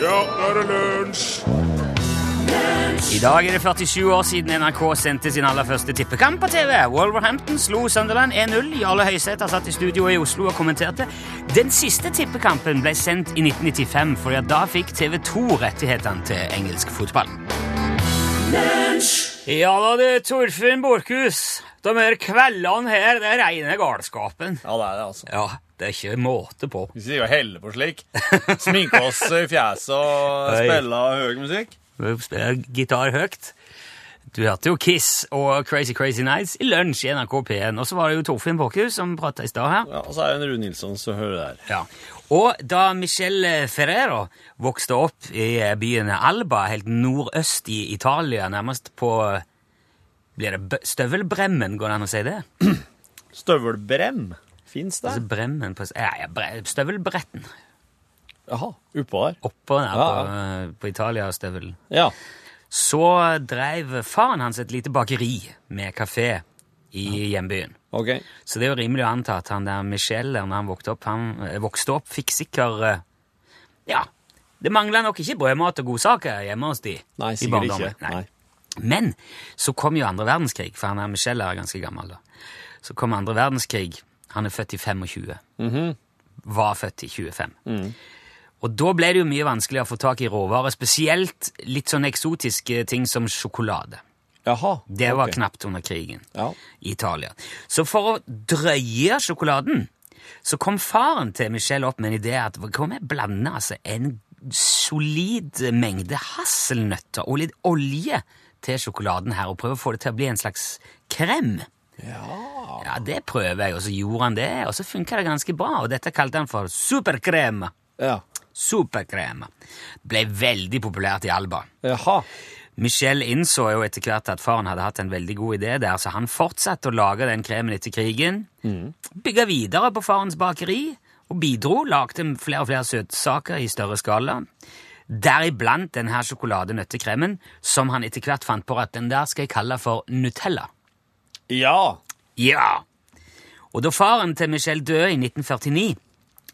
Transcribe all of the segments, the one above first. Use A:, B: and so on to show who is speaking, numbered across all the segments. A: nå er det lunsj!
B: I dag er det 47 år siden NRK sendte sin aller første tippekamp på TV. Wolverhampton slo Sunderland 1-0. Jarle Høysæter satt i studio i Oslo og kommenterte. Den siste tippekampen ble sendt i 1995, for da fikk TV 2 rettighetene til engelsk fotball. Ja da, det er Torfinn Borchhus. De her kveldene her, det er reine galskapen.
A: Ja, det er det, altså.
B: Ja, det er ikke måte på.
A: Vi sier jo helle på slik. Sminke oss i fjeset og
B: Hei.
A: spille høy musikk.
B: Vi spiller gitar høyt. Du hørte jo Kiss og Crazy Crazy Nights i lunsj i NRK P1. Og så var det jo Torfinn Borchhus som prata i stad her.
A: Ja, og så er det en Rune Nilsson som hører det her.
B: Ja. Og da Michel Ferrero vokste opp i byen Alba, helt nordøst i Italia, nærmest på blir det bø- Støvelbremmen, går det an å si det?
A: Støvelbrem. Fins det?
B: Altså bremmen på, ja, ja, bre, Støvelbretten
A: Altså, Jaha, oppå der.
B: oppå der
A: Ja,
B: på, eh, på Italia-støvelen.
A: Ja.
B: Så dreiv faren hans et lite bakeri med kafé i hjembyen.
A: Ok.
B: Så det er jo rimelig å anta at han der Michel, der, når han vokste opp, han eh, vokste opp, fikk sikkert eh, Ja, det mangla nok ikke brødmat og godsaker hjemme hos de.
A: Nei,
B: i
A: sikkert
B: barndommen.
A: ikke. Nei.
B: Men så kom jo andre verdenskrig, for han der Michel er ganske gammel da. Så kom andre verdenskrig. Han er født i 25.
A: Mhm.
B: Var født i 25.
A: Mm.
B: Og da ble det jo mye vanskeligere å få tak i råvarer, spesielt litt sånn eksotiske ting som sjokolade.
A: Jaha.
B: Det var
A: ok.
B: knapt under krigen
A: Ja.
B: i Italia. Så for å drøye sjokoladen, så kom faren til Michelle opp med en idé at hva om jeg blander altså en solid mengde hasselnøtter og litt olje til sjokoladen her, og prøver å få det til å bli en slags krem. Ja. ja, det prøver jeg, og så gjorde han det, og så funka det ganske bra, og dette kalte han for superkrem.
A: ja.
B: Superkrem. Ble veldig populært i Alba.
A: Jaha.
B: Michel innså jo etter hvert at faren hadde hatt en veldig god idé der, så han fortsatte å lage den kremen etter krigen, bygga videre på farens bakeri og bidro, lagde flere og flere søtsaker i større skala. Deriblant den her sjokoladenøttekremen, som han etter hvert fant på at den der skal jeg kalle for Nutella.
A: Ja.
B: Ja! Og da faren til Michel døde i 1949,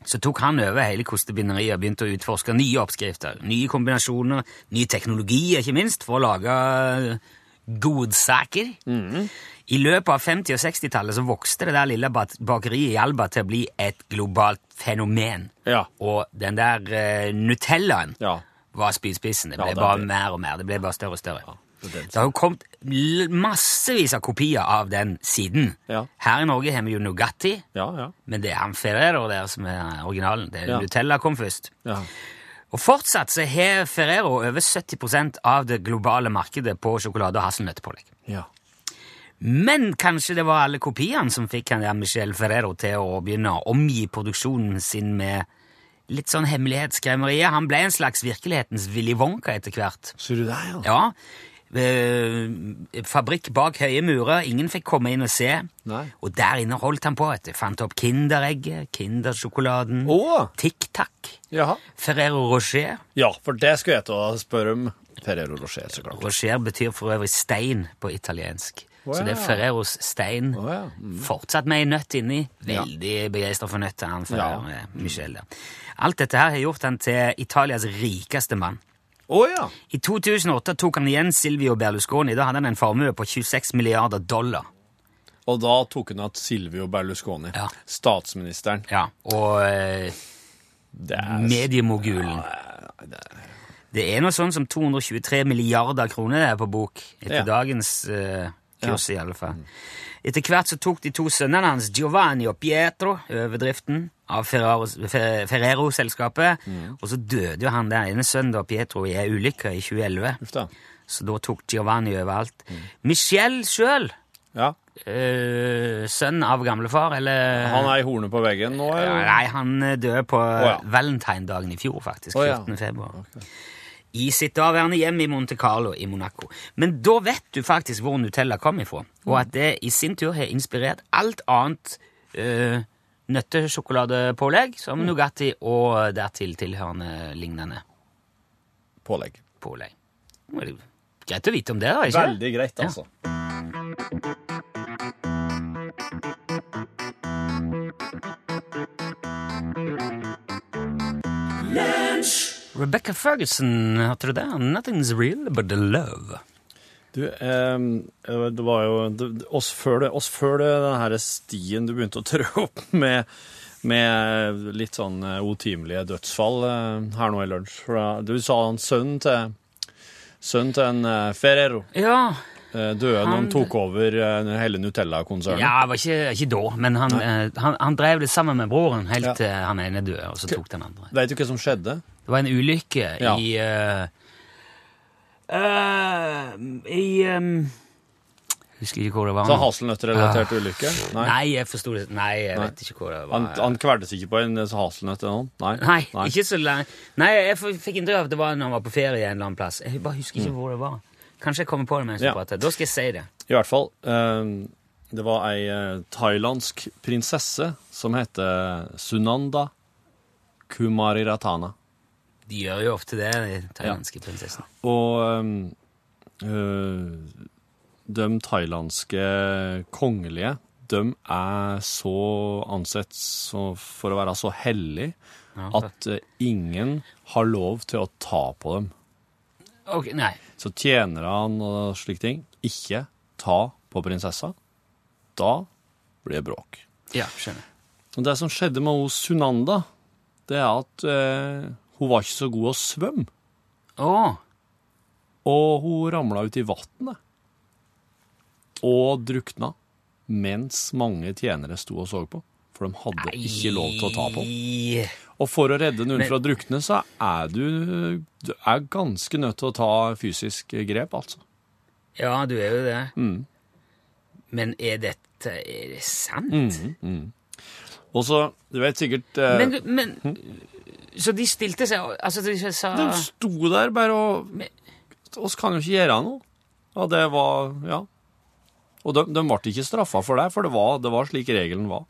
B: så tok han over hele kostebinderiet og begynte å utforske nye oppskrifter, nye kombinasjoner, ny teknologi, ikke minst, for å lage eh, godsaker.
A: Mhm.
B: I løpet av 50- og 60-tallet så vokste det der lille bak- bakeriet i Alba til å bli et globalt fenomen.
A: Ja.
B: Og den der eh, Nutellaen
A: Ja.
B: var spydspissen. Det
A: Ja,
B: ble
A: det er
B: bare
A: det.
B: mer og mer. Det ble bare større og større.
A: det er det.
B: det har jo kommet l- massevis av kopier av den siden.
A: Ja.
B: Her i Norge har vi jo Nugatti,
A: Ja, ja.
B: men det er han Ferrero der som er originalen. Det er
A: Ja.
B: Nutella kom først.
A: ja.
B: Og fortsatt så har Ferrero over 70 av det globale markedet på sjokolade- og hasselnøttepålegg.
A: ja.
B: Men kanskje det var alle kopiene som fikk han der Michel Ferrero til å begynne å omgi produksjonen sin med litt sånn hemmelighetskremmerier. Han ble en slags virkelighetens Willy Wonka etter hvert.
A: Så du der, ja?
B: Ja, eh, fabrikk bak høye murer, ingen fikk komme inn og se.
A: Nei.
B: Og der inne holdt han på, vet du. Fant opp Kinderegget, Kindersjokoladen,
A: Å!
B: Tic Tac,
A: Jaha.
B: Ferrero Rocher.
A: Ja, for det skulle jeg til å spørre om. Ferrero Rocher, så klart.
B: Rocher betyr for øvrig stein på italiensk. Så det er
A: Wow.
B: Ferreros stein.
A: Å, ja. Mm.
B: Fortsatt med ei nøtt inni. Veldig begeistra for nøtter, han Ferrero eh, Michel. der. Alt dette her har gjort han til Italias rikeste mann.
A: Å ja.
B: I 2008 tok han igjen Silvio Berlusconi. Da hadde han en formue på 26 milliarder dollar.
A: Og da tok hun at Silvio Berlusconi,
B: Ja.
A: statsministeren
B: Ja, Og eh,
A: Det er
B: mediemogulen. Det er noe sånn som 223 milliarder kroner det er på bok, etter
A: Ja.
B: dagens eh, kurs i alle fall. Etter hvert så tok de to sønnene hans, Giovanni og Pietro, overdriften av Ferraro- Fe- Ferrero-selskapet, og så døde jo han der ene sønnen da, Pietro, i en ulykke i 2011.
A: Uff da.
B: Så da tok Giovanni overalt. Michel sjøl,
A: Ja.
B: sønn av gamlefar, eller
A: Han er i hornet på veggen nå,
B: ja,
A: eller?
B: nei, han eh, døde på
A: ja.
B: valentinedagen i fjor, faktisk.
A: Å, ja.
B: 14. februar. I sitt daværende hjem i Monte Carlo i Monaco. Men da vet du faktisk hvor Nutella kom ifra, og
A: Mm.
B: at det i sin tur har inspirert alt annet eh, nøttesjokoladepålegg,
A: Mm.
B: som Nugatti og dertil tilhørende lignende
A: Pålegg.
B: pålegg. Nå er det jo Greit å vite om det, da. ikke det?
A: Veldig greit, altså.
B: Rebecca Ferguson, hørte du det? Nothing's real but the love.
A: Du, eh, det var jo det, oss før det, oss før det den her stien du begynte å trø opp med, med litt sånn eh, otimelige dødsfall eh, her nå i lunsj. For da- Du sa han sønnen til Sønnen til en eh, Ferrero
B: Ja,
A: eh, døde når han
B: Han-
A: tok over eh, hele Nutella-konsernet.
B: ja var ikke, ikke da, men han, eh, han, han drev det sammen med broren helt
A: Ja.
B: til han ene døde, og så tok den andre.
A: Veit du hva som skjedde?
B: Det var en ulykke
A: Ja.
B: i eh, eh, I eh, Husker ikke hvor det var.
A: Så
B: nå.
A: Haselnøtt-relatert ulykke? Nei.
B: Nei, jeg forsto det Nei, jeg vet ikke hvor det var.
A: Han, han kveldes ikke på en haselnøtt eller noe? Nei.
B: Nei, ikke så lenge. Nei, jeg f- fikk inntrykk av at det var når han var på ferie en eller annen plass. Jeg bare husker ikke hvor det var. Kanskje jeg kommer på det mens vi
A: Mm. Ja.
B: prater. Da skal jeg si det.
A: I hvert fall. eh, det var ei eh, thailandsk prinsesse som heter Sunanda Kumariratana.
B: De gjør jo ofte det, de thailandske prinsessene.
A: Og eh, eh, de thailandske kongelige, de er så ansett så, for å være så hellig
B: Ja.
A: at eh, ingen har lov til å ta på dem.
B: Ok, nei.
A: Så tjener han og slike ting. Ikke ta på prinsessa. Da blir det bråk.
B: Ja, skjønner.
A: Og det som skjedde med hos Sunanda, det er at eh, hun var ikke så god å svømme.
B: Å,
A: Og hun ramla ut i vannet. Og drukna. Mens mange tjenere sto og så på. For de hadde ikke lov til å ta på.
B: i-
A: Og for å redde noen
B: Men-
A: fra å drukne, så er du, du er ganske nødt til å ta fysisk grep, altså.
B: Ja, du er jo det.
A: Mm.
B: Men er dette Er det sant?
A: Mm. Og så, du vet sikkert eh,
B: Men, du- men Så de stilte seg Altså, de sa
A: De sto der bare og
B: Men-
A: oss kan jo ikke gjøre noe. Og det var Ja. Og de, de ble ikke straffa for det, for det var, det var slik regelen var.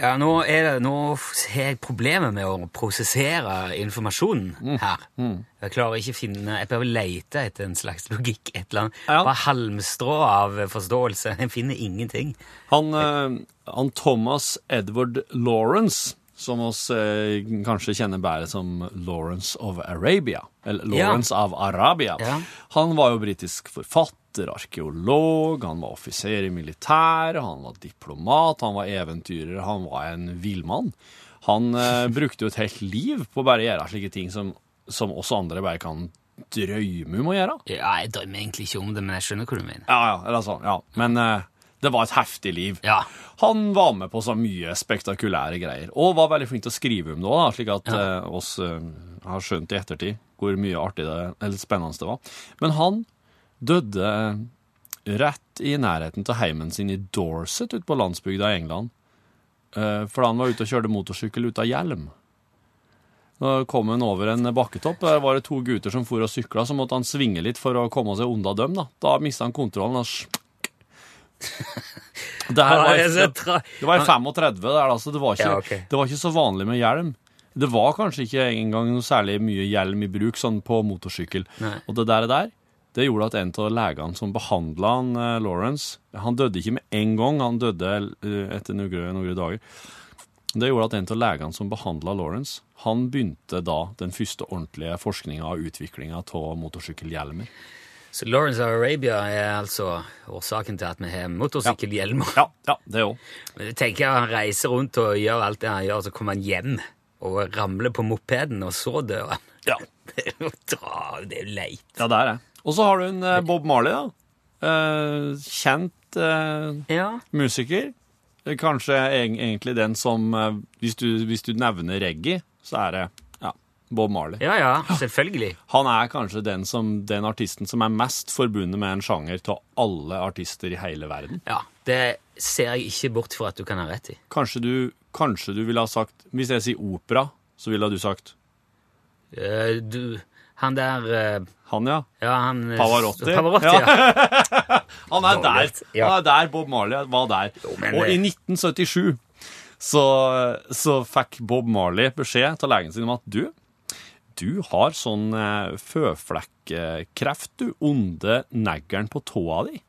B: Ja, nå, er det, nå har jeg problemer med å prosessere
A: Mm.
B: informasjonen her. Jeg klarer ikke å finne Jeg prøver å lete etter en slags logikk. Et eller annet.
A: Ja.
B: Bare halmstrå av forståelse. Jeg finner ingenting.
A: Han, eh, han Thomas Edward Lawrence, som oss eh, kanskje kjenner bedre som Lawrence of Arabia, eller Lawrence av Arabia,
B: Ja.
A: han var jo britisk forfatter, arkeolog, han var offiser i militæret, han var diplomat, han var eventyrer, han var en villmann. Han eh, brukte jo et helt liv på å bare gjøre slike ting som, som oss andre bare kan drømme om å gjøre.
B: Ja, Jeg drømmer egentlig ikke om det, men jeg skjønner hva du mener.
A: Ja, ja, eller sånn, ja. Men eh, det var et heftig liv.
B: Ja.
A: Han var med på så mye spektakulære greier, og var veldig flink til å skrive om det òg, slik at eh, oss eh, har skjønt i ettertid hvor mye artig det, eller spennende det var. Men han døde eh, rett i nærheten til heimen sin i Dorset ute på landsbygda i England, eh, fordi han var ute og kjørte motorsykkel uten hjelm. Da kom han over en bakketopp. Der var det to gutter som for og sykla, så måtte han svinge litt for å komme seg unna dem. Da, da mista han kontrollen. Og smkk. det, her
B: Ah,
A: var,
B: jeg er så
A: i-
B: tra-
A: det var i 35 der, altså. Det var, ikke,
B: Ja, ok.
A: det var ikke så vanlig med hjelm. Det var kanskje ikke engang noe særlig mye hjelm i bruk sånn på motorsykkel.
B: Nei.
A: Og det der, der det gjorde at en av legene som behandla han, eh, Lawrence Han døde ikke med en gang, han døde eh, etter noen, noen dager. Det gjorde at en av legene som behandla Lawrence, han begynte da den første ordentlige forskninga og utviklinga av motorsykkelhjelmer.
B: Så Lawrence of Arabia er altså årsaken til at vi har motorsykkelhjelmer.
A: Ja, ja, det òg.
B: Men jeg tenker at Han reiser rundt og gjør alt det han gjør, så kommer han hjem og ramler på mopeden, og så dør han.
A: Ja.
B: Det er jo dra- det er jo leit.
A: ja, det er det. Og så har du en eh, Bob Marley, da. Eh, kjent eh,
B: Ja.
A: musiker. Eh, Kanskje eg- egentlig den som eh, hvis, du, hvis du nevner reggae, så er det ja, Bob Marley.
B: Ja, ja, selvfølgelig.
A: Han er kanskje den, som, den artisten som er mest forbundet med en sjanger av alle artister i hele verden.
B: Ja, Det ser jeg ikke bort fra at du kan ha rett i.
A: Kanskje du, kanskje du ville ha sagt Hvis jeg sier opera, så ville du sagt
B: Eh, Du, han der eh,
A: han, ja.
B: Ja, han eh,
A: Pavarotti?
B: Pavarotti,
A: Ja.
B: ja.
A: Han er der!
B: Dårlig, ja.
A: Han er der Bob Marley var der.
B: men
A: Og
B: det-
A: i 1977 så, så fikk Bob Marley beskjed av legen sin om at du, du har sånn eh, føflekkreft, du. Onde neggeren på tåa di.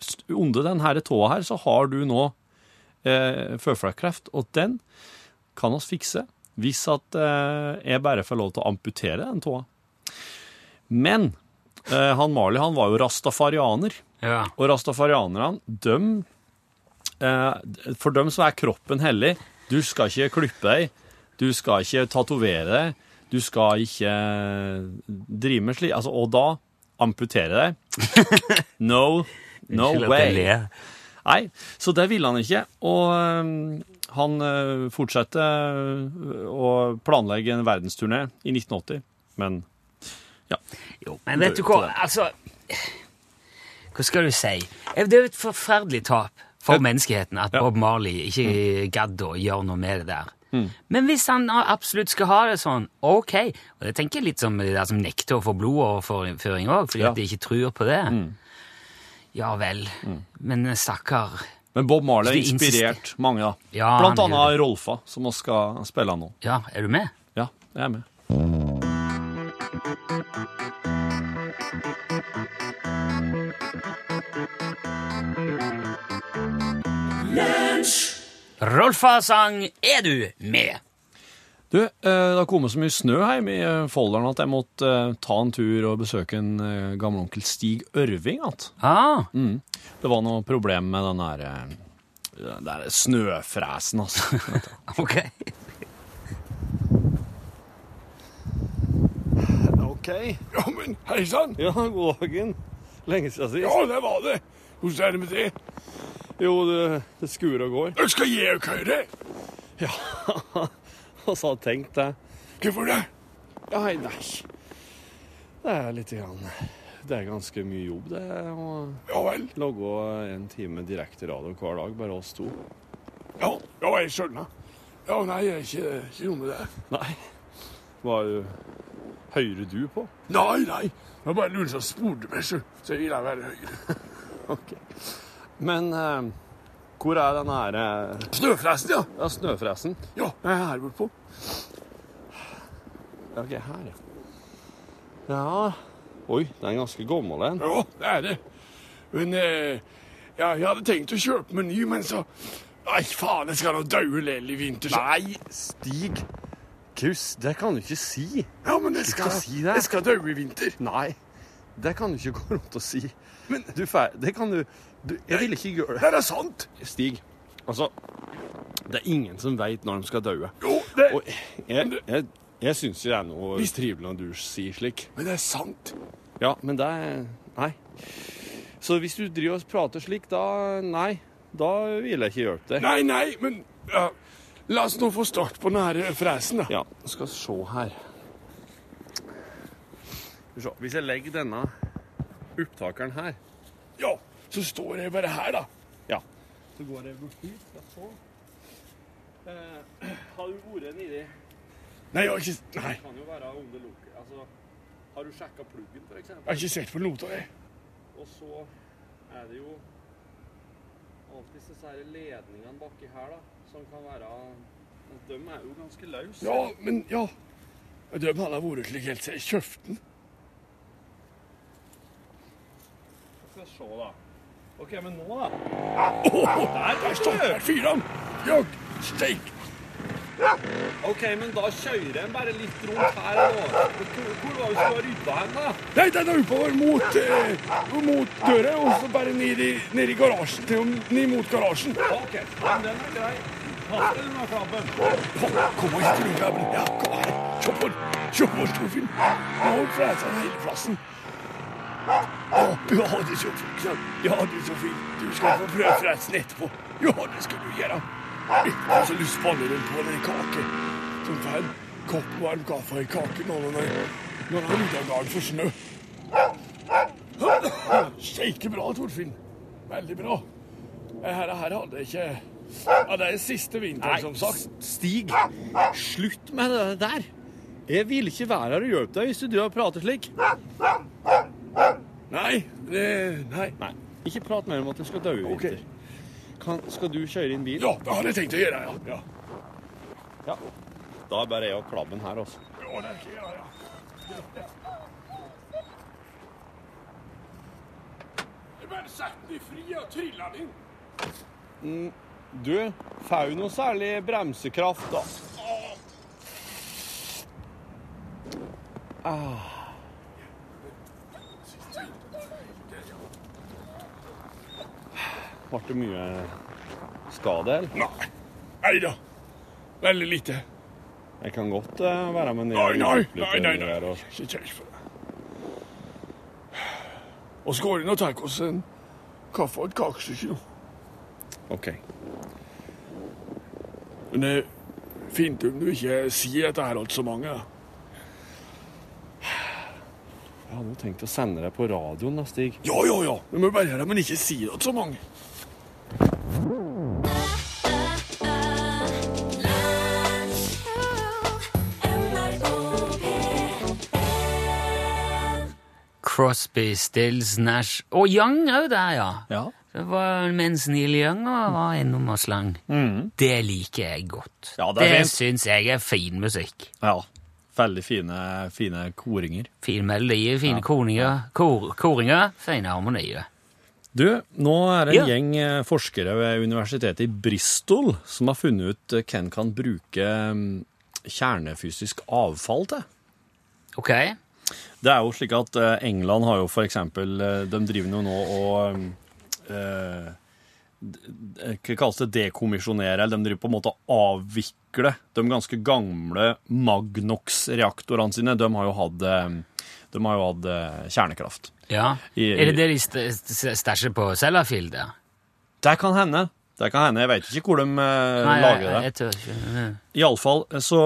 A: St- Onde den her tåa her, så har du nå eh, føflekkreft, og den kan oss fikse hvis at eh, jeg bare får lov til å amputere den tåa. Men eh, han Marley han var jo rastafarianer,
B: Ja.
A: og rastafarianerne, dem, eh, for dem så er kroppen hellig. Du skal ikke klippe deg, du skal ikke tatovere deg, du skal ikke eh, drive med slik, altså, og da amputere deg. No, no
B: Unnskyld at jeg
A: way.
B: ler.
A: Nei, så det ville han ikke. Og øhm, han øh, fortsatte øh, å planlegge en verdensturné i 1980. Men
B: Jo, men
A: dør
B: vet du
A: til
B: hva, altså Hva skal du si? Eh, Det er jo et forferdelig tap for
A: Ja.
B: menneskeheten at
A: Ja. Mm.
B: Bob Marley ikke gadd å gjøre noe med det der. Men hvis han absolutt skal ha det sånn, ok. Og det tenker jeg litt som de der som nekter å få blodoverføring òg, fordi
A: Ja. Mm.
B: at de ikke tror på det. Ja vel. Men stakkar.
A: men Bob
B: Så
A: Marley
B: de insisterer-
A: inspirert mange, da.
B: Ja,
A: Blant
B: han gjorde
A: annet Rolfa, som vi skal spille nå.
B: Ja, er du med?
A: Ja, jeg er med.
B: Rolfa sang 'Er du med?'
A: Du, eh, det har kommet så mye snø hjemme i eh, Folldalen at jeg måtte eh, ta en tur og besøke en eh, gammel onkel Stig Ørving igjen.
B: Ah,
A: Mm. Det var noe problem med den der, eh, den der snøfresen, altså.
B: ok.
A: OK.
C: Ja, men hei sann!
A: Ja, god dagen. Lenge siden sist.
C: Ja, det var det. Hvordan er det med det?
A: Jo, det, det skuer og går.
C: Dere skal gi dere høre.
A: Og så har jeg altså, tenkt det.
C: Hvorfor det?
A: Ja, hei, nei. Det er litt grann Det er ganske mye jobb, det. Å
C: Ja vel.
A: logge en time direkte radio hver dag, bare oss to.
C: Ja, ja jeg skjønner. Ja, nei, jeg er ikke, ikke noe med det.
A: Nei. Hva er Hører du på?
C: Nei, nei. Det var bare noen som spurte meg, så, så jeg ville være høyere.
A: OK. Men eh, hvor er den her eh,
C: Snøfresen, ja.
A: ja, snøfresen?
C: Ja, jeg er her bortpå.
A: OK, her, ja. Ja Oi, den er ganske gammel, den.
C: Ja, det er det. Men eh, ja, jeg hadde tenkt å kjøpe meg ny, men så Nei, faen, jeg skal nå daue lell i vinter. Så.
A: Nei, Stig. Kuss, det kan du ikke si.
C: Ja, men jeg skal,
A: skal si det.
C: jeg skal daue i vinter.
A: Nei, det kan du ikke gå rundt og si. Men du, fer- det kan du, du Jeg vil ikke gjøre
C: Det er sant.
A: det. Stig, altså Det er ingen som veit når de skal daue.
C: Jo, det
A: Og jeg, jeg, jeg syns jo det er noe Hvis trivelig når du sier slik.
C: Men det er sant.
A: Ja, men det er Nei. Så hvis du driver og prater slik, da Nei. Da vil jeg ikke hjelpe deg.
C: Nei, nei, men ja, La oss nå få start på den her fresen, da.
A: Ja, skal se her. Skal vi se. Hvis jeg legger denne opptakeren her
C: Ja, Så står jeg bare her, da.
A: Ja. Så går jeg bort hit, skal så. Eh, har du vært nedi
C: Nei, jeg har ikke Nei,
A: Kan jo være under lukket. Altså, har du sjekka pluggen, for
C: jeg har
A: eksempel?
C: ikke sett på nota, jeg.
A: Og så er det jo alltid disse her ledningene baki her, da, som kan være De er jo ganske løse.
C: Ja, men ja. Jeg dømmer han har vært slik helt siden jeg kjøpte den.
A: Skal vi se, da. OK, men nå, da.
C: Åh, der, der står der fyrer han! Ja, steik!
A: OK, men da kjører en bare litt rundt her nå. Hvor, hvor var det du skulle rydda hen, da?
C: Nei, den er oppover mot, eh, mot døra, og så bare ned i, ned i garasjen. Til og ned mot garasjen.
A: OK, men den er grei. Pass deg unna krabben.
C: Kom, kom og hit, Rødgrabben. Ja, kom her. Se på den. Se på den, Torfinn. Nå freser han hele plassen. Å, ja, du så flink. sant? Ja, du så fin. Du skal få prøve fresen etterpå. Ja, det skal du gjøre. Jeg har så lyst på alle rundt på den kake. Som får en kopp varm kaffe i kake nå når når han rydder garden for snø. Steike bra, Torfinn. Veldig bra. Det her, her hadde jeg ikke Ja, det er siste vinteren, som sagt.
A: Stig, slutt med det der. Jeg vil ikke være her og hjelpe deg hvis du driver og prater slik.
C: Nei, det, nei.
A: Nei, ikke prat mer om at jeg skal dø i
C: Ok.
A: vinter. Kan, skal du kjøre inn bil?
C: Ja, det hadde jeg tenkt å gjøre, ja. ja.
A: Ja. Da er bare jeg og klabben her, altså.
C: ja, det skal jeg gjøre, ja. Jeg bare setter den i fri og triller den inn.
A: Du, får jo noe særlig bremsekraft, da. Ah. Ble det mye skade, eller?
C: Nei. Nei da. Veldig lite.
A: Jeg kan godt eh, være med ned
C: Nei, nei,
A: og
C: nei. nei, nei.
A: her og-
C: Ikke kjekk for deg. Og så går det inn og tar oss en kaffe og et kakestykke nå.
A: OK.
C: Men det er fint om du ikke sier dette her alt så mange. da.
A: Jeg hadde jo tenkt å sende deg på radioen, da, Stig.
C: Ja, ja, ja. Du må bare gjøre det, men ikke si det til så mange.
B: Crosby, Stills, Nash Og Young òg der, ja.
A: Ja.
B: Det var mens Neil Young var innom og slang. Det liker jeg godt.
A: Mm. Ja, det er fint.
B: syns jeg er fin musikk.
A: ja. Veldig fine, fine koringer.
B: Fine melodier, fine koninger, kor, koringer, fine harmonier.
A: Du, nå er det en
B: Ja.
A: gjeng eh, forskere ved universitetet i Bristol som har funnet ut eh, hvem kan bruke mm, kjernefysisk avfall til.
B: Ok?
A: Det er jo slik at eh, England har jo for eksempel, eh, de driver jo nå og mm, eh, d- d- Hva kalles det? Dekommisjonere? Eller de driver på en måte å avvikle de ganske gamle Magnox-reaktorene sine. De har jo hatt, eh, de har jo hatt eh, kjernekraft.
B: Ja.
A: I-
B: Er det det de st- st- stæsjer på Sellafield? ja?
A: Det kan hende. Det kan hende. Jeg vet ikke hvor de eh,
B: Nei, jeg,
A: lager det.
B: jeg, jeg tør ikke. Mm.
A: Iallfall eh, så,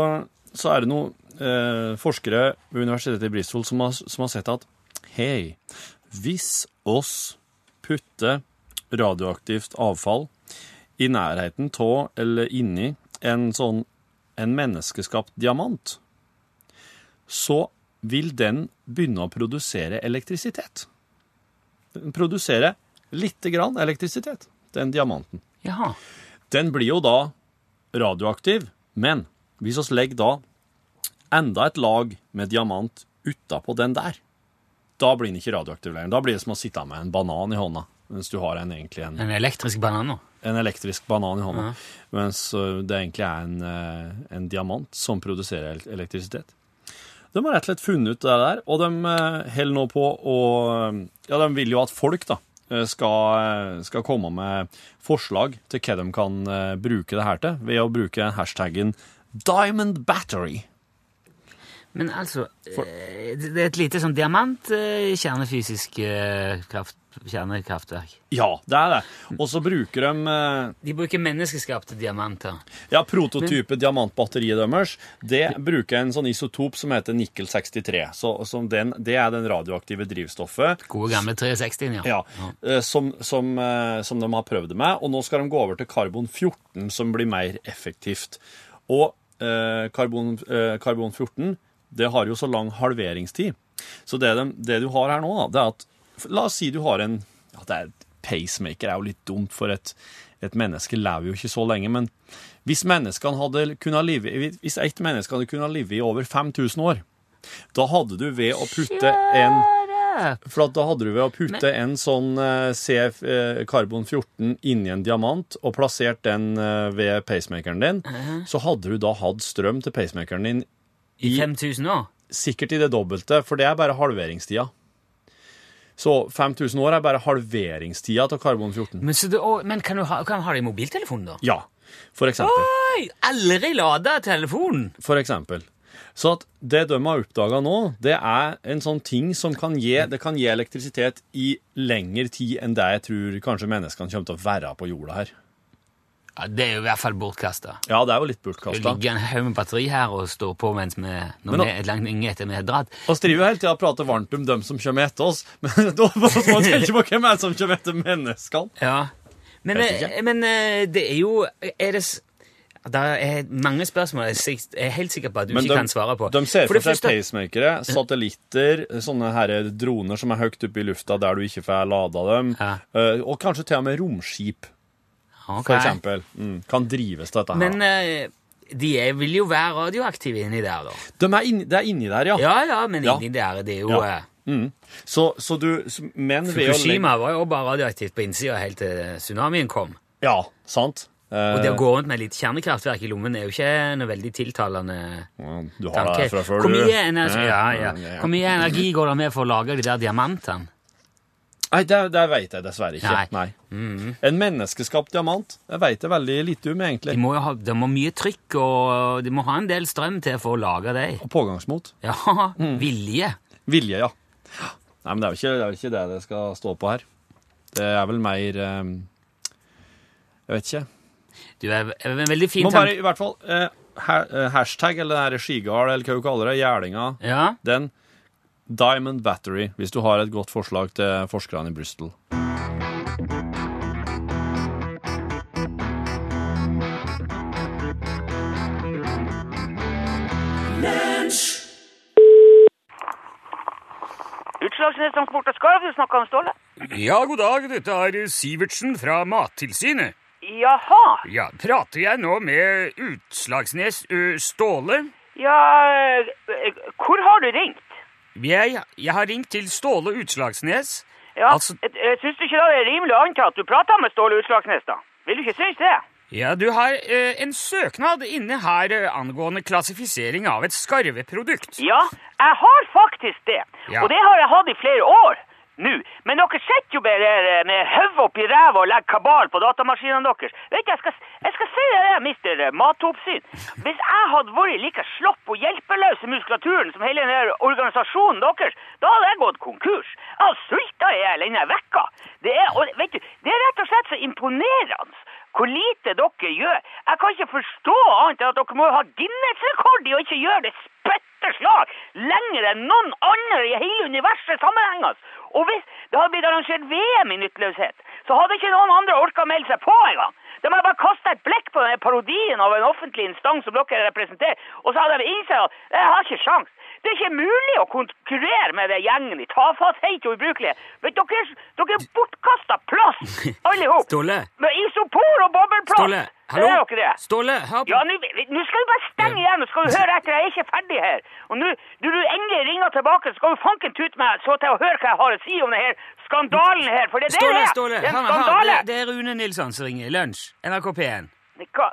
A: så er det noen eh, forskere ved Universitetet i Bristol som har, som har sett at hei, hvis oss putter radioaktivt avfall i nærheten av eller inni en sånn en menneskeskapt diamant, så vil den begynne å produsere elektrisitet. Den produserer lite grann elektrisitet, den diamanten.
B: Jaha.
A: Den blir jo da radioaktiv, men hvis oss legger da enda et lag med diamant utapå den der, da blir den ikke radioaktiv lenger. Da blir det som å sitte med en banan i hånda, mens du har en, egentlig en,
B: En elektrisk banan nå.
A: en elektrisk banan i hånda, mens ø, det egentlig er en, ø, en diamant som produserer el- elektrisitet. De har rett og slett funnet ut det der, og de ø, holder nå på å eh, Ja, de vil jo at folk, da, ø, skal, ø, skal komme med forslag til hva de kan ø, bruke det her til, ved å bruke hashtaggen 'Diamond Battery'.
B: Men altså, eh, det det er et lite sånn diamant eh, kjernefysisk eh, kraft, kjernekraftverk.
A: Ja, det er det. Og så bruker de eh, ø,
B: De bruker menneskeskapte diamanter.
A: Ja, prototype diamantbatteriet deres, det bruker en sånn isotop som heter nikkel 63. Så, som den, det er den radioaktive drivstoffet.
B: Gode gamle 360-en, ja.
A: Ja, eh, som, som, eh, som de har prøvd det med. Og nå skal de gå over til karbon 14, som blir mer effektivt. Og eh, karbon, eh, karbon 14 det har jo så lang halveringstid. Så det, de, det du har her nå, da, det er at La oss si du har en ja, det er, Pacemaker er jo litt dumt, for et, et menneske lever jo ikke så lenge. Men hvis, menneskene hadde kunnet live, hvis ett menneske hadde kunnet leve i over 5000 år, da hadde du ved å putte en
B: Ja.
A: for at da hadde du ved å putte en sånn eh, CF eh, karbon 14 inni en diamant og plassert den eh, ved pacemakeren din, så hadde du da hatt strøm til pacemakeren din
B: I 5000 år?
A: sikkert i det dobbelte, for det er bare halveringstida. Så 5000 år er bare halveringstida til karbon 14.
B: Men, så du, å, men kan du ha, kan du ha det i mobiltelefonen, da?
A: Ja, for eksempel.
B: Oi, aldri lada telefonen!
A: For eksempel. Så at det de har oppdaga nå, det er en sånn ting som kan gi, det kan gi elektrisitet i lengre tid enn det jeg tror kanskje menneskene kommer til å være på jorda her.
B: Ja, det er jo i hvert fall bortkasta.
A: Ja, det er jo litt
B: Det
A: bortkasta.
B: ligger en haug med batteri her og står på mens vi, når
A: Men nå-
B: vi er langt lenge etter vi har dratt.
A: Vi driver jo hele tida og prater varmt om dem som kommer etter oss, men da må vi tenke på hvem er det som kommer etter menneskene.
B: Ja.
A: Jeg
B: Men,
A: vet ikke.
B: eh, men eh, det er jo er det, s- det er mange spørsmål jeg er sikt- jeg er helt sikker på at du
A: Men
B: ikke
A: de-
B: kan svare på.
A: De ser
B: For
A: for
B: det
A: seg
B: første-
A: pacemakere, satellitter, sånne her droner som er høyt oppe i lufta der du ikke får lada dem,
B: Ja.
A: eh, og kanskje til og med romskip,
B: Ok.
A: for eksempel, mm, kan drives til dette her.
B: Men eh, de er, vil jo være radioaktive inni der, da.
A: de er inni, det er inni der, ja.
B: Ja ja, men
A: Ja.
B: inni der det er jo
A: Ja.
B: eh,
A: Mm. Så, så du så- Men ved å legge
B: Fukushima var jo bare radioaktivt på innsida helt til tsunamien kom.
A: Ja, sant.
B: Og det å gå rundt med litt kjernekraftverk i lommen er jo ikke noe veldig tiltalende
A: Ja, Eh, Du har det
B: tanke.
A: fra før,
B: Hvor
A: du.
B: mye, energi, ja, ja.
A: Ja.
B: Hvor mye energi går det med for å lage de der diamantene?
A: Nei, det, det vet jeg dessverre ikke.
B: Nei. Mm.
A: Nei. En menneskeskapt diamant Jeg vet det veldig lite om, egentlig.
B: De må jo ha de må ha mye trykk, og de må ha en del strøm til for å lage dem.
A: Og pågangsmot.
B: Ja,
A: Mm.
B: vilje.
A: Vilje, ja. Nei, men det er jo ikke det, er jo ikke det det skal stå på her. Det er vel mer eh, Jeg vet ikke.
B: Du er er en veldig fin
A: Må bare
B: tanke.
A: i hvert fall eh, ha- eh, Hashtag eller den her skigard eller hva du kaller det, gjerlinga,
B: Ja.
A: den Diamond Battery, hvis du har et godt forslag til forskerne i Bristol.
D: Utslagsnes Transport og Skarv, du snakka om Ståle?
B: ja, god dag. Dette er Sivertsen fra Mattilsynet.
D: Jaha.
B: Ja, Prater jeg nå med Utslagsnes Ståle?
D: Ja, eh, hvor har du ringt?
B: Jeg, har ringt til Ståle Utslagsnes.
D: Ja,
B: Altså-
D: et- eh, Syns du ikke da det er rimelig å anta at du prater med Ståle Utslagsnes, da? Vil du ikke synes det?
B: Ja, du har eh, en søknad inne her eh, angående klassifisering av et skarveprodukt.
D: Ja, jeg har faktisk det.
B: Ja.
D: Og det har jeg hatt i flere år nå. Men dere sitter jo bare her eh, med hodet oppi ræva og legger kabal på datamaskinene deres. Vet du, jeg skal, jeg skal si deg det, mister eh, matoppsyn. Hvis jeg hadde vært like slapp og hjelpeløs i muskulaturen som hele den her organisasjonen deres, da hadde jeg gått konkurs. Jeg hadde sulta i hjel innen ei uke. Det er, og, vet du, det er rett og slett så imponerende. Hvor lite dere gjør. Jeg kan ikke forstå annet enn at dere må ha Guinness-rekord i å ikke gjøre det spytte slag lenger enn noen andre i hele universet sammenhengende. Og hvis det hadde blitt arrangert VM i nytteløshet, så hadde ikke noen andre orka å melde seg på engang. De hadde bare kasta et blikk på denne parodien av en offentlig instans som dere representerer, og så hadde de innsett at jeg har ikke sjans. Det er ikke mulig å konkurrere med det gjengen i tafatthet og ubrukelige. Men dere, er- dere er bortkasta plass, alle sammen.
B: Ståle.
D: Med isopor og bobleplast.
B: Ståle, hallo?
D: Hører dere det?
B: Ståle, hør
D: Ja, nå nå skal du bare stenge igjen, og skal du høre etter. Jeg er ikke ferdig her. Og nå, når du endelig ringer tilbake, så skal du fanken tute meg så til å høre hva jeg har å si om denne skandalen her, for det er det
B: Ståle,
D: det er.
B: Ståle,
D: det er en
B: hør, hør,
D: skandale.
B: det, det er Rune Nilsson som ringer. Lunsj, NRK P1.
D: Hva?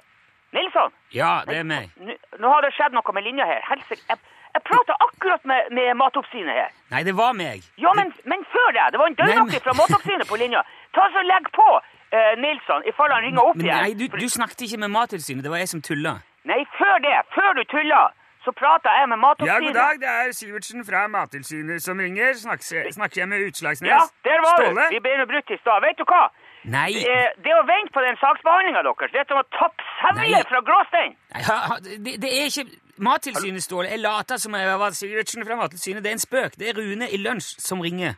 D: Nilsson,
B: Ja, det er meg.
D: nå, nå har det skjedd noe med linja her. Helsike, jeg, jeg prater akkurat med, med matoppsynet her.
B: Nei, det var meg.
D: Ja, men, men før det, det var en
B: Nei, men-
D: døgnaktig fra matoppsynet på linja. Ta så legg på, eh, Nilsson, i fall han ringer opp
B: Men
D: igjen.
B: nei, du, du snakket ikke med Mattilsynet, det var jeg som tulla.
D: Nei, før det, før du tuller, så prater jeg med Matoppsynet.
B: det er Sivertsen fra Mattilsynet som ringer. Snakker, jeg med Utslagsnes?
D: Ja, der var du. Vi ble nå brutt i stad. Vet du hva?
B: Nei,
D: Eh, det å vente på den saksbehandlinga deres, det er som å tappe
B: Nei.
D: sevje fra gråstein.
B: nei, ha- ha- det, det er ikke Mattilsynet, Ståle. Jeg later som jeg var Sivertsen fra Mattilsynet. Det er en spøk. Det er Rune i Lunsj som ringer.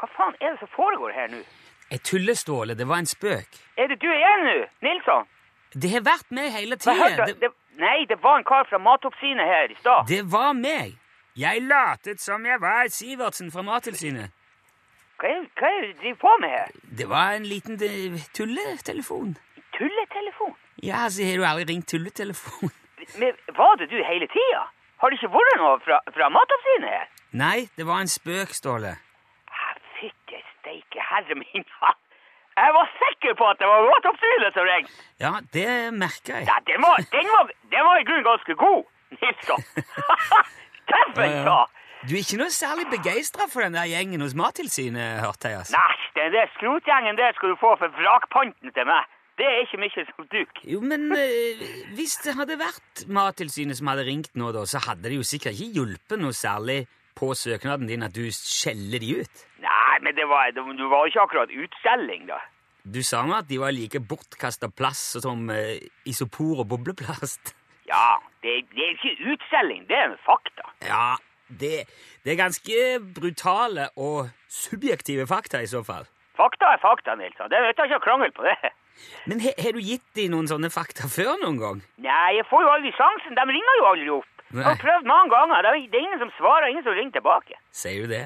D: Hva faen er det som foregår her nå?
B: Jeg tuller, Ståle. Det var en spøk.
D: Er det du igjen nå, Nilsson?
B: Det har vært meg hele
D: Hva
B: tida.
D: hørte- det, nei, det var en kar fra Matoppsynet her i stad.
B: Det var meg. Jeg latet som jeg var Sivertsen fra Mattilsynet.
D: Hva er hva er det du driver på med her?
B: Det var en liten eh, tulletelefon.
D: Tulletelefon?
B: Ja, så har du aldri ringt tulletelefon?
D: Men var det du hele tida? Har det ikke vært noe fra, fra Matoppsynet her?
B: Nei, det var en spøk, Ståle.
D: Ah, Fytti steike, herre min hatt! Jeg var sikker på at det var Matoppsynet som ringte!
B: Ja, det merka
D: Ja,
B: jeg.
D: den var, den var, den var i grunnen ganske god, Nilsson. Dæven
B: Ja, ja.
D: ta!
B: Du er ikke noe særlig begeistra for den der gjengen hos Mattilsynet, hørte jeg. altså.
D: Nei, den der skrotgjengen der skal du få for vrakpanten til meg. Det er ikke mye som duk.
B: Jo, men eh, hvis det hadde vært Mattilsynet som hadde ringt nå, da, så hadde det jo sikkert ikke hjulpet noe særlig på søknaden din at du skjeller de ut.
D: Nei, men det var, det, du var jo ikke akkurat utselling, da.
B: Du sa nå at de var like bortkasta plass som eh, isopor og bobleplast.
D: Ja, det, det er ikke utselling, det er en fakta.
B: Ja, det, det er ganske brutale og subjektive fakta i så fall.
D: Fakta er fakta, Nilsson. Det er det er ikke å krangle på det.
B: Men he- har du gitt dem noen sånne fakta før noen gang?
D: Nei, jeg får jo aldri sjansen. De ringer jo aldri opp. Jeg har
B: Nei.
D: prøvd mange ganger. Det er- det er ingen som svarer, ingen som ringer tilbake.
B: Sier du det?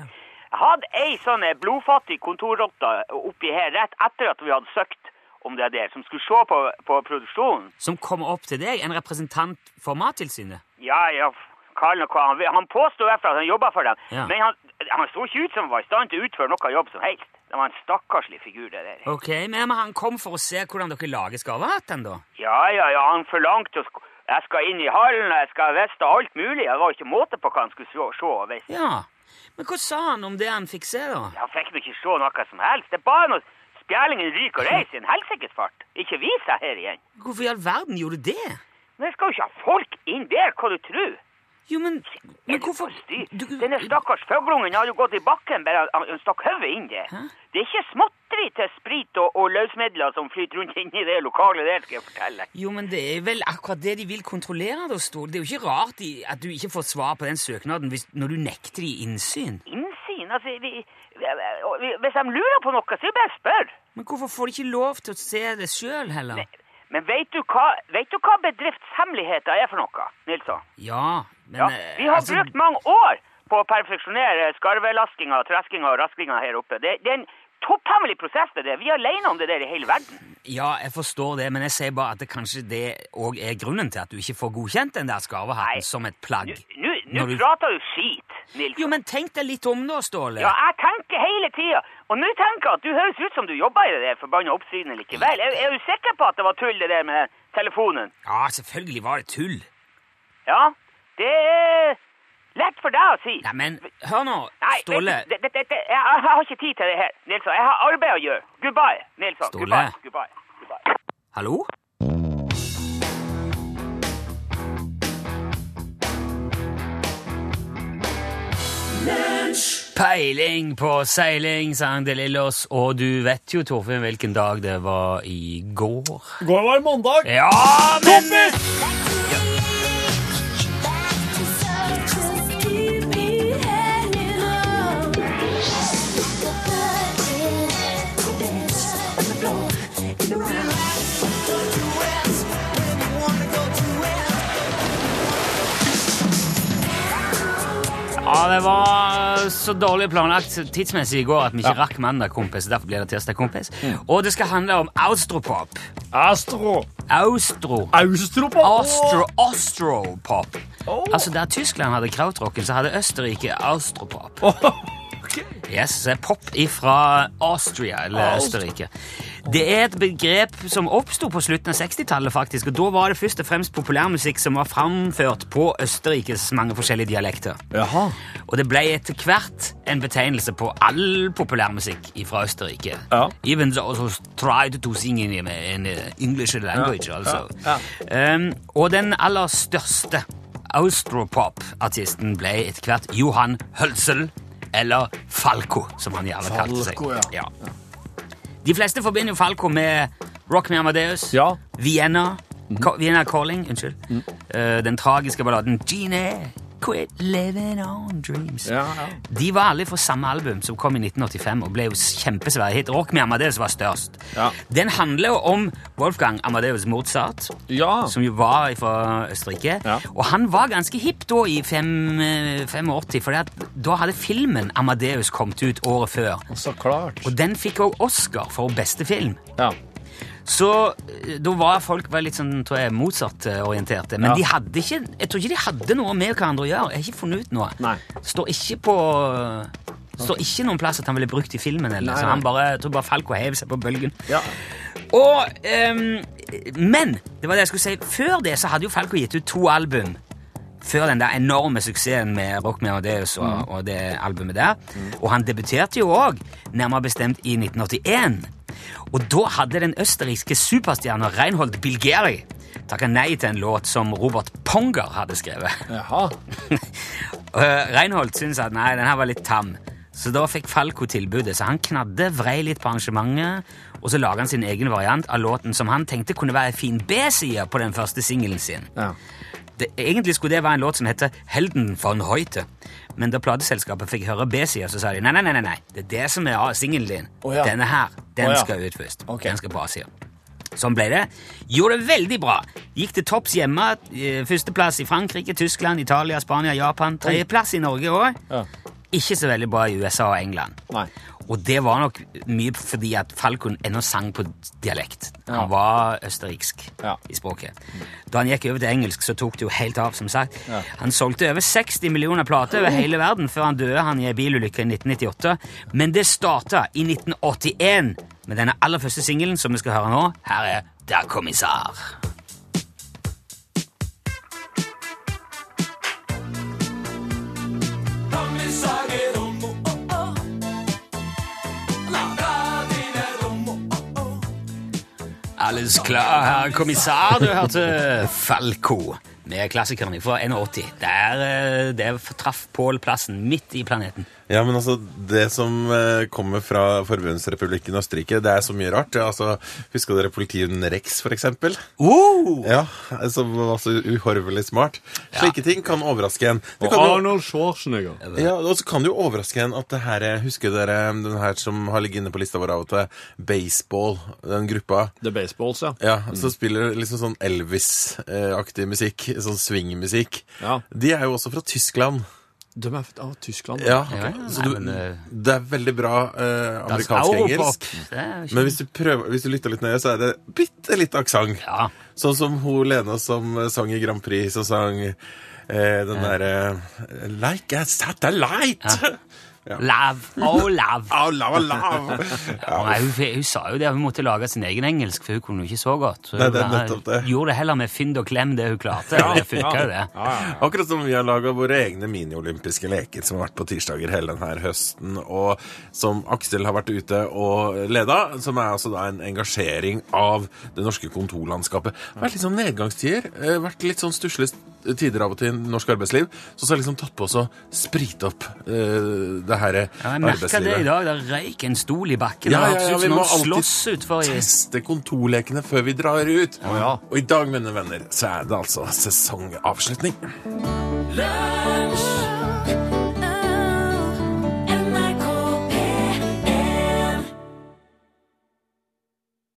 D: Jeg hadde ei sånn eh, blodfattig kontorrotte oppi her rett etter at vi hadde søkt om det der, som skulle se på, på produksjonen.
B: Som kommer opp til deg, en representant for Mattilsynet?
D: Ja, ja, f- kall nå hva han vil. Han påstod i hvert fall at han jobba for dem,
B: Ja.
D: men han, han så ikke ut som han var i stand til å utføre noe jobb som helst. Det var en stakkarslig figur, det der.
B: Ok, men han kom for å se hvordan dere lager skarvehatten, da.
D: Ja, ja, ja, han forlangte å sk- Jeg skal inn i hallen, og jeg skal vite alt mulig. Det var ikke måte på hva han skulle se- se og vite.
B: Ja. Men hva sa han om det han fikk se, da?
D: Han fikk nå ikke se noe som helst. Det er bare noe spjælingen ryk og reis i en helsikes fart. Ikke vis seg her igjen.
B: Hvorfor i all verden gjorde du det?
D: Men jeg skal jo ikke ha folk inn der, hva du tror.
B: Jo, men, men hvorfor
D: sånn Styr.
B: du,
D: Denne stakkars fuglungen har jo gått i bakken, bare han- han stakk hodet inn der.
B: Hæ?
D: Det er ikke småtteri til sprit og, og løsmidler som flyter rundt inni det lokalet der, skal jeg fortelle.
B: Jo, men det er vel akkurat det de vil kontrollere, da, Ståle. Det er jo ikke rart de, at du ikke får svar på den søknaden hvis, når du nekter de innsyn.
D: Innsyn, altså, vi, vi- hvis de lurer på noe, så er det bare å spørre.
B: Men hvorfor får de ikke lov til å se det sjøl, heller?
D: Men vet du hva, vet du hva bedriftshemmeligheter er for noe, Nilsson?
B: Ja, men
D: Ja,
B: eh,
D: vi har
B: altså-
D: brukt mange år på å perfeksjonere skarvelaskinga, treskinga og raskinga her oppe. Det, det er en topphemmelig prosess, det der. Vi er alene om det der i hele verden.
B: Ja, jeg forstår det, men jeg sier bare at det kanskje det òg er grunnen til at du ikke får godkjent den der
D: Nei.
B: skarvehatten som et plagg.
D: Nå- nå- Nå
B: Når du-
D: prater du skit, Nils.
B: Jo, men tenk deg litt om nå, Ståle.
D: Ja, jeg tenker hele tida. Og nå tenker jeg at du høres ut som du jobber i det der forbanna oppsynet likevel. Er, er du sikker på at det var tull, det der med telefonen?
B: Ja, selvfølgelig var det tull.
D: Ja? Det er lett for deg å si.
B: Nei, men hør nå,
D: Nei, vet
B: Ståle.
D: du, det, det, det, det, jeg, jeg har ikke tid til det her, Nilsson. Jeg har arbeid å gjøre. Goodbye, Nilsson.
B: Ståle.
D: Goodbye. Goodbye. Goodbye.
B: Hallo? Peiling på seiling, sang De Lillos, og du vet jo, Torfinn, hvilken dag det var i går.
A: Går det mandag?
B: Ja, men Ja, det var så dårlig planlagt tidsmessig i går at vi ikke rakk mandag, kompis. Derfor blir det tirsdag, kompis. Og det skal handle om austropop.
A: Astro.
B: Austro.
A: Austropa.
B: Austro, austropop.
A: Åh.
B: Altså, der Tyskland hadde krautrocken, så hadde Østerrike austropop. Yes, det er pop ifra Austria, eller
A: Aust-
B: Østerrike. Det er et begrep som oppsto på slutten av 60-tallet, faktisk, og da var det først og fremst populærmusikk som var framført på Østerrikes mange forskjellige dialekter.
A: Jaha.
B: Og det ble etter hvert en betegnelse på all populærmusikk fra Østerrike.
A: Ja.
B: Even those who tried to sing in, in English language, altså.
A: ja,
B: Um, og den aller største austropop-artisten ble etter hvert Johan Hølsel, eller Falco, som han gjerne kalte seg.
A: Falco, ja.
B: De fleste forbinder jo Falco med Rock med Amadeus,
A: Ja. Mm.
B: Vienna, Ca- Vienna Calling, unnskyld, Eh, den tragiske balladen Genie, quit living on dreams.
A: Ja, ja.
B: De var alle fra samme album som kom i 1985 og ble jo kjempesvære hit. Rock med Amadeus var størst.
A: Ja.
B: Den handler jo om Wolfgang Amadeus Mozart,
A: Ja.
B: som jo var fra Østerrike.
A: Ja.
B: Og han var ganske hipp da i fem- eh, 85, for da hadde filmen Amadeus kommet ut året før.
A: Så klart.
B: Og den fikk også Oscar for beste film.
A: Ja.
B: Så eh, da var folk var litt sånn, tror jeg, Mozart-orienterte. Men
A: Ja.
B: de hadde ikke, jeg tror ikke de hadde noe med hverandre å gjøre. Jeg har ikke funnet ut noe.
A: Nei.
B: Står ikke på... eh, Står ikke noen plass at han ville brukt i filmen, eller
A: Nei,
B: så
A: nei.
B: han bare, jeg tror bare Falco hev seg på bølgen.
A: Ja.
B: Og, ehm, men, det var det jeg skulle si, før det så hadde jo Falco gitt ut to album. Før den der enorme suksessen med Rock med Amadeus og, og det albumet der. Og han debuterte jo òg, nærmere bestemt i 1981. Og da hadde den østerrikske superstjerna Reinhold Bilgeri takka nei til en låt som Robert Ponger hadde skrevet.
A: Jaha.
B: Uh, Reinhold syntes at nei, den her var litt tam. Så da fikk Falco tilbudet, så han knadde, vrei litt på arrangementet, og så laga han sin egen variant av låten som han tenkte kunne være en fin B-side på den første singelen sin.
A: Ja.
B: Det, egentlig skulle det være en låt som heter Helden von Hoite, men da plateselskapet fikk høre B-sida, så sa de nei, nei, nei, nei, nei, det er det som er A- singelen din.
A: Å ja.
B: Denne her, den
A: Å ja.
B: skal ut først.
A: Ok.
B: Den skal på A-sida. Sånn ble det. Gjorde det veldig bra. Gikk til topps hjemme. eh, Førsteplass i Frankrike, Tyskland, Italia, Spania, Japan. Tredjeplass i Norge òg.
A: Ja.
B: Ikke så veldig bra i USA og England.
A: Nei.
B: Og det var nok mye fordi at Falcon ennå sang på dialekt. Han var østerriksk
A: Ja.
B: i språket. Da han gikk over til engelsk, så tok det jo helt av, som sagt. Han solgte over 60 millioner plater over hele verden før han døde han i en bilulykke i 1998. Men det starta i 1981 med denne aller første singelen som vi skal høre nå. Her er Der kommissar. Alles klar, herr kommissar, du hørte Falco med klassikeren fra 81. Der, eh, der traff Pål plassen midt i planeten.
E: Ja, men altså, Det som eh, kommer fra Forbundsrepublikken Østerrike, det er så mye rart. Ja, altså, Husker dere politihunden Rex, for eksempel?
B: Oh!
E: Ja, Som var så uhorvelig smart. Slike ting kan overraske en. Det kan jo,
A: Arnold Schwarzenegger.
E: ja, og så kan det jo overraske en at det her eh, Husker dere den her som har ligget inne på lista vår av og til? Baseball, den gruppa.
A: The Baseballs, ja.
E: Ja, som
B: Mm.
E: spiller liksom sånn Elvis-aktig musikk. Sånn swingmusikk.
A: Ja.
E: De er jo også fra Tyskland.
A: De er fra ah, Tyskland.
E: Ja,
B: Ja, ja.
E: Så
B: Nei,
E: du,
B: men, eh,
E: det er veldig bra eh, amerikansk-engelsk. Men hvis du, prøver, hvis du lytter litt nøye, så er det bitte litt aksent.
B: Ja.
E: Sånn som hun Lene som eh, sang i Grand Prix, som sang eh, den derre eh, Like a satellite!
B: Lav. Oh, lav.
E: Au, la, la.
B: Ja, nei, hun, hun sa jo det, hun måtte lage sin egen engelsk, for hun kunne jo ikke så godt. Så
E: Nei,
B: hun
E: det er
B: bare
E: nettopp det.
B: Gjorde det heller med fynd og klem, det hun klarte. og Det funka jo, det.
E: Akkurat som vi har laga våre egne miniolympiske leker som har vært på tirsdager hele denne høsten, og som Aksel har vært ute og leda, som er altså da en engasjering av det norske kontorlandskapet. Det har vært litt sånn nedgangstider, eh, vært litt sånn stusslige tider av og til i norsk arbeidsliv, så så har jeg liksom tatt på oss å sprite opp eh, det her
B: Ja, jeg merka det i
E: arbeidslivet.
B: dag. Der røyk en stol i bakken.
E: Ja,
B: det
E: ja,
B: hørtes ut
E: ja, vi
B: som
E: må
B: noen
E: alltid
B: slåss utfor i
E: Teste kontorlekene før vi drar ut.
A: ja.
E: Og i dag, mine venner, så er det altså sesongavslutning.
F: Lunsj!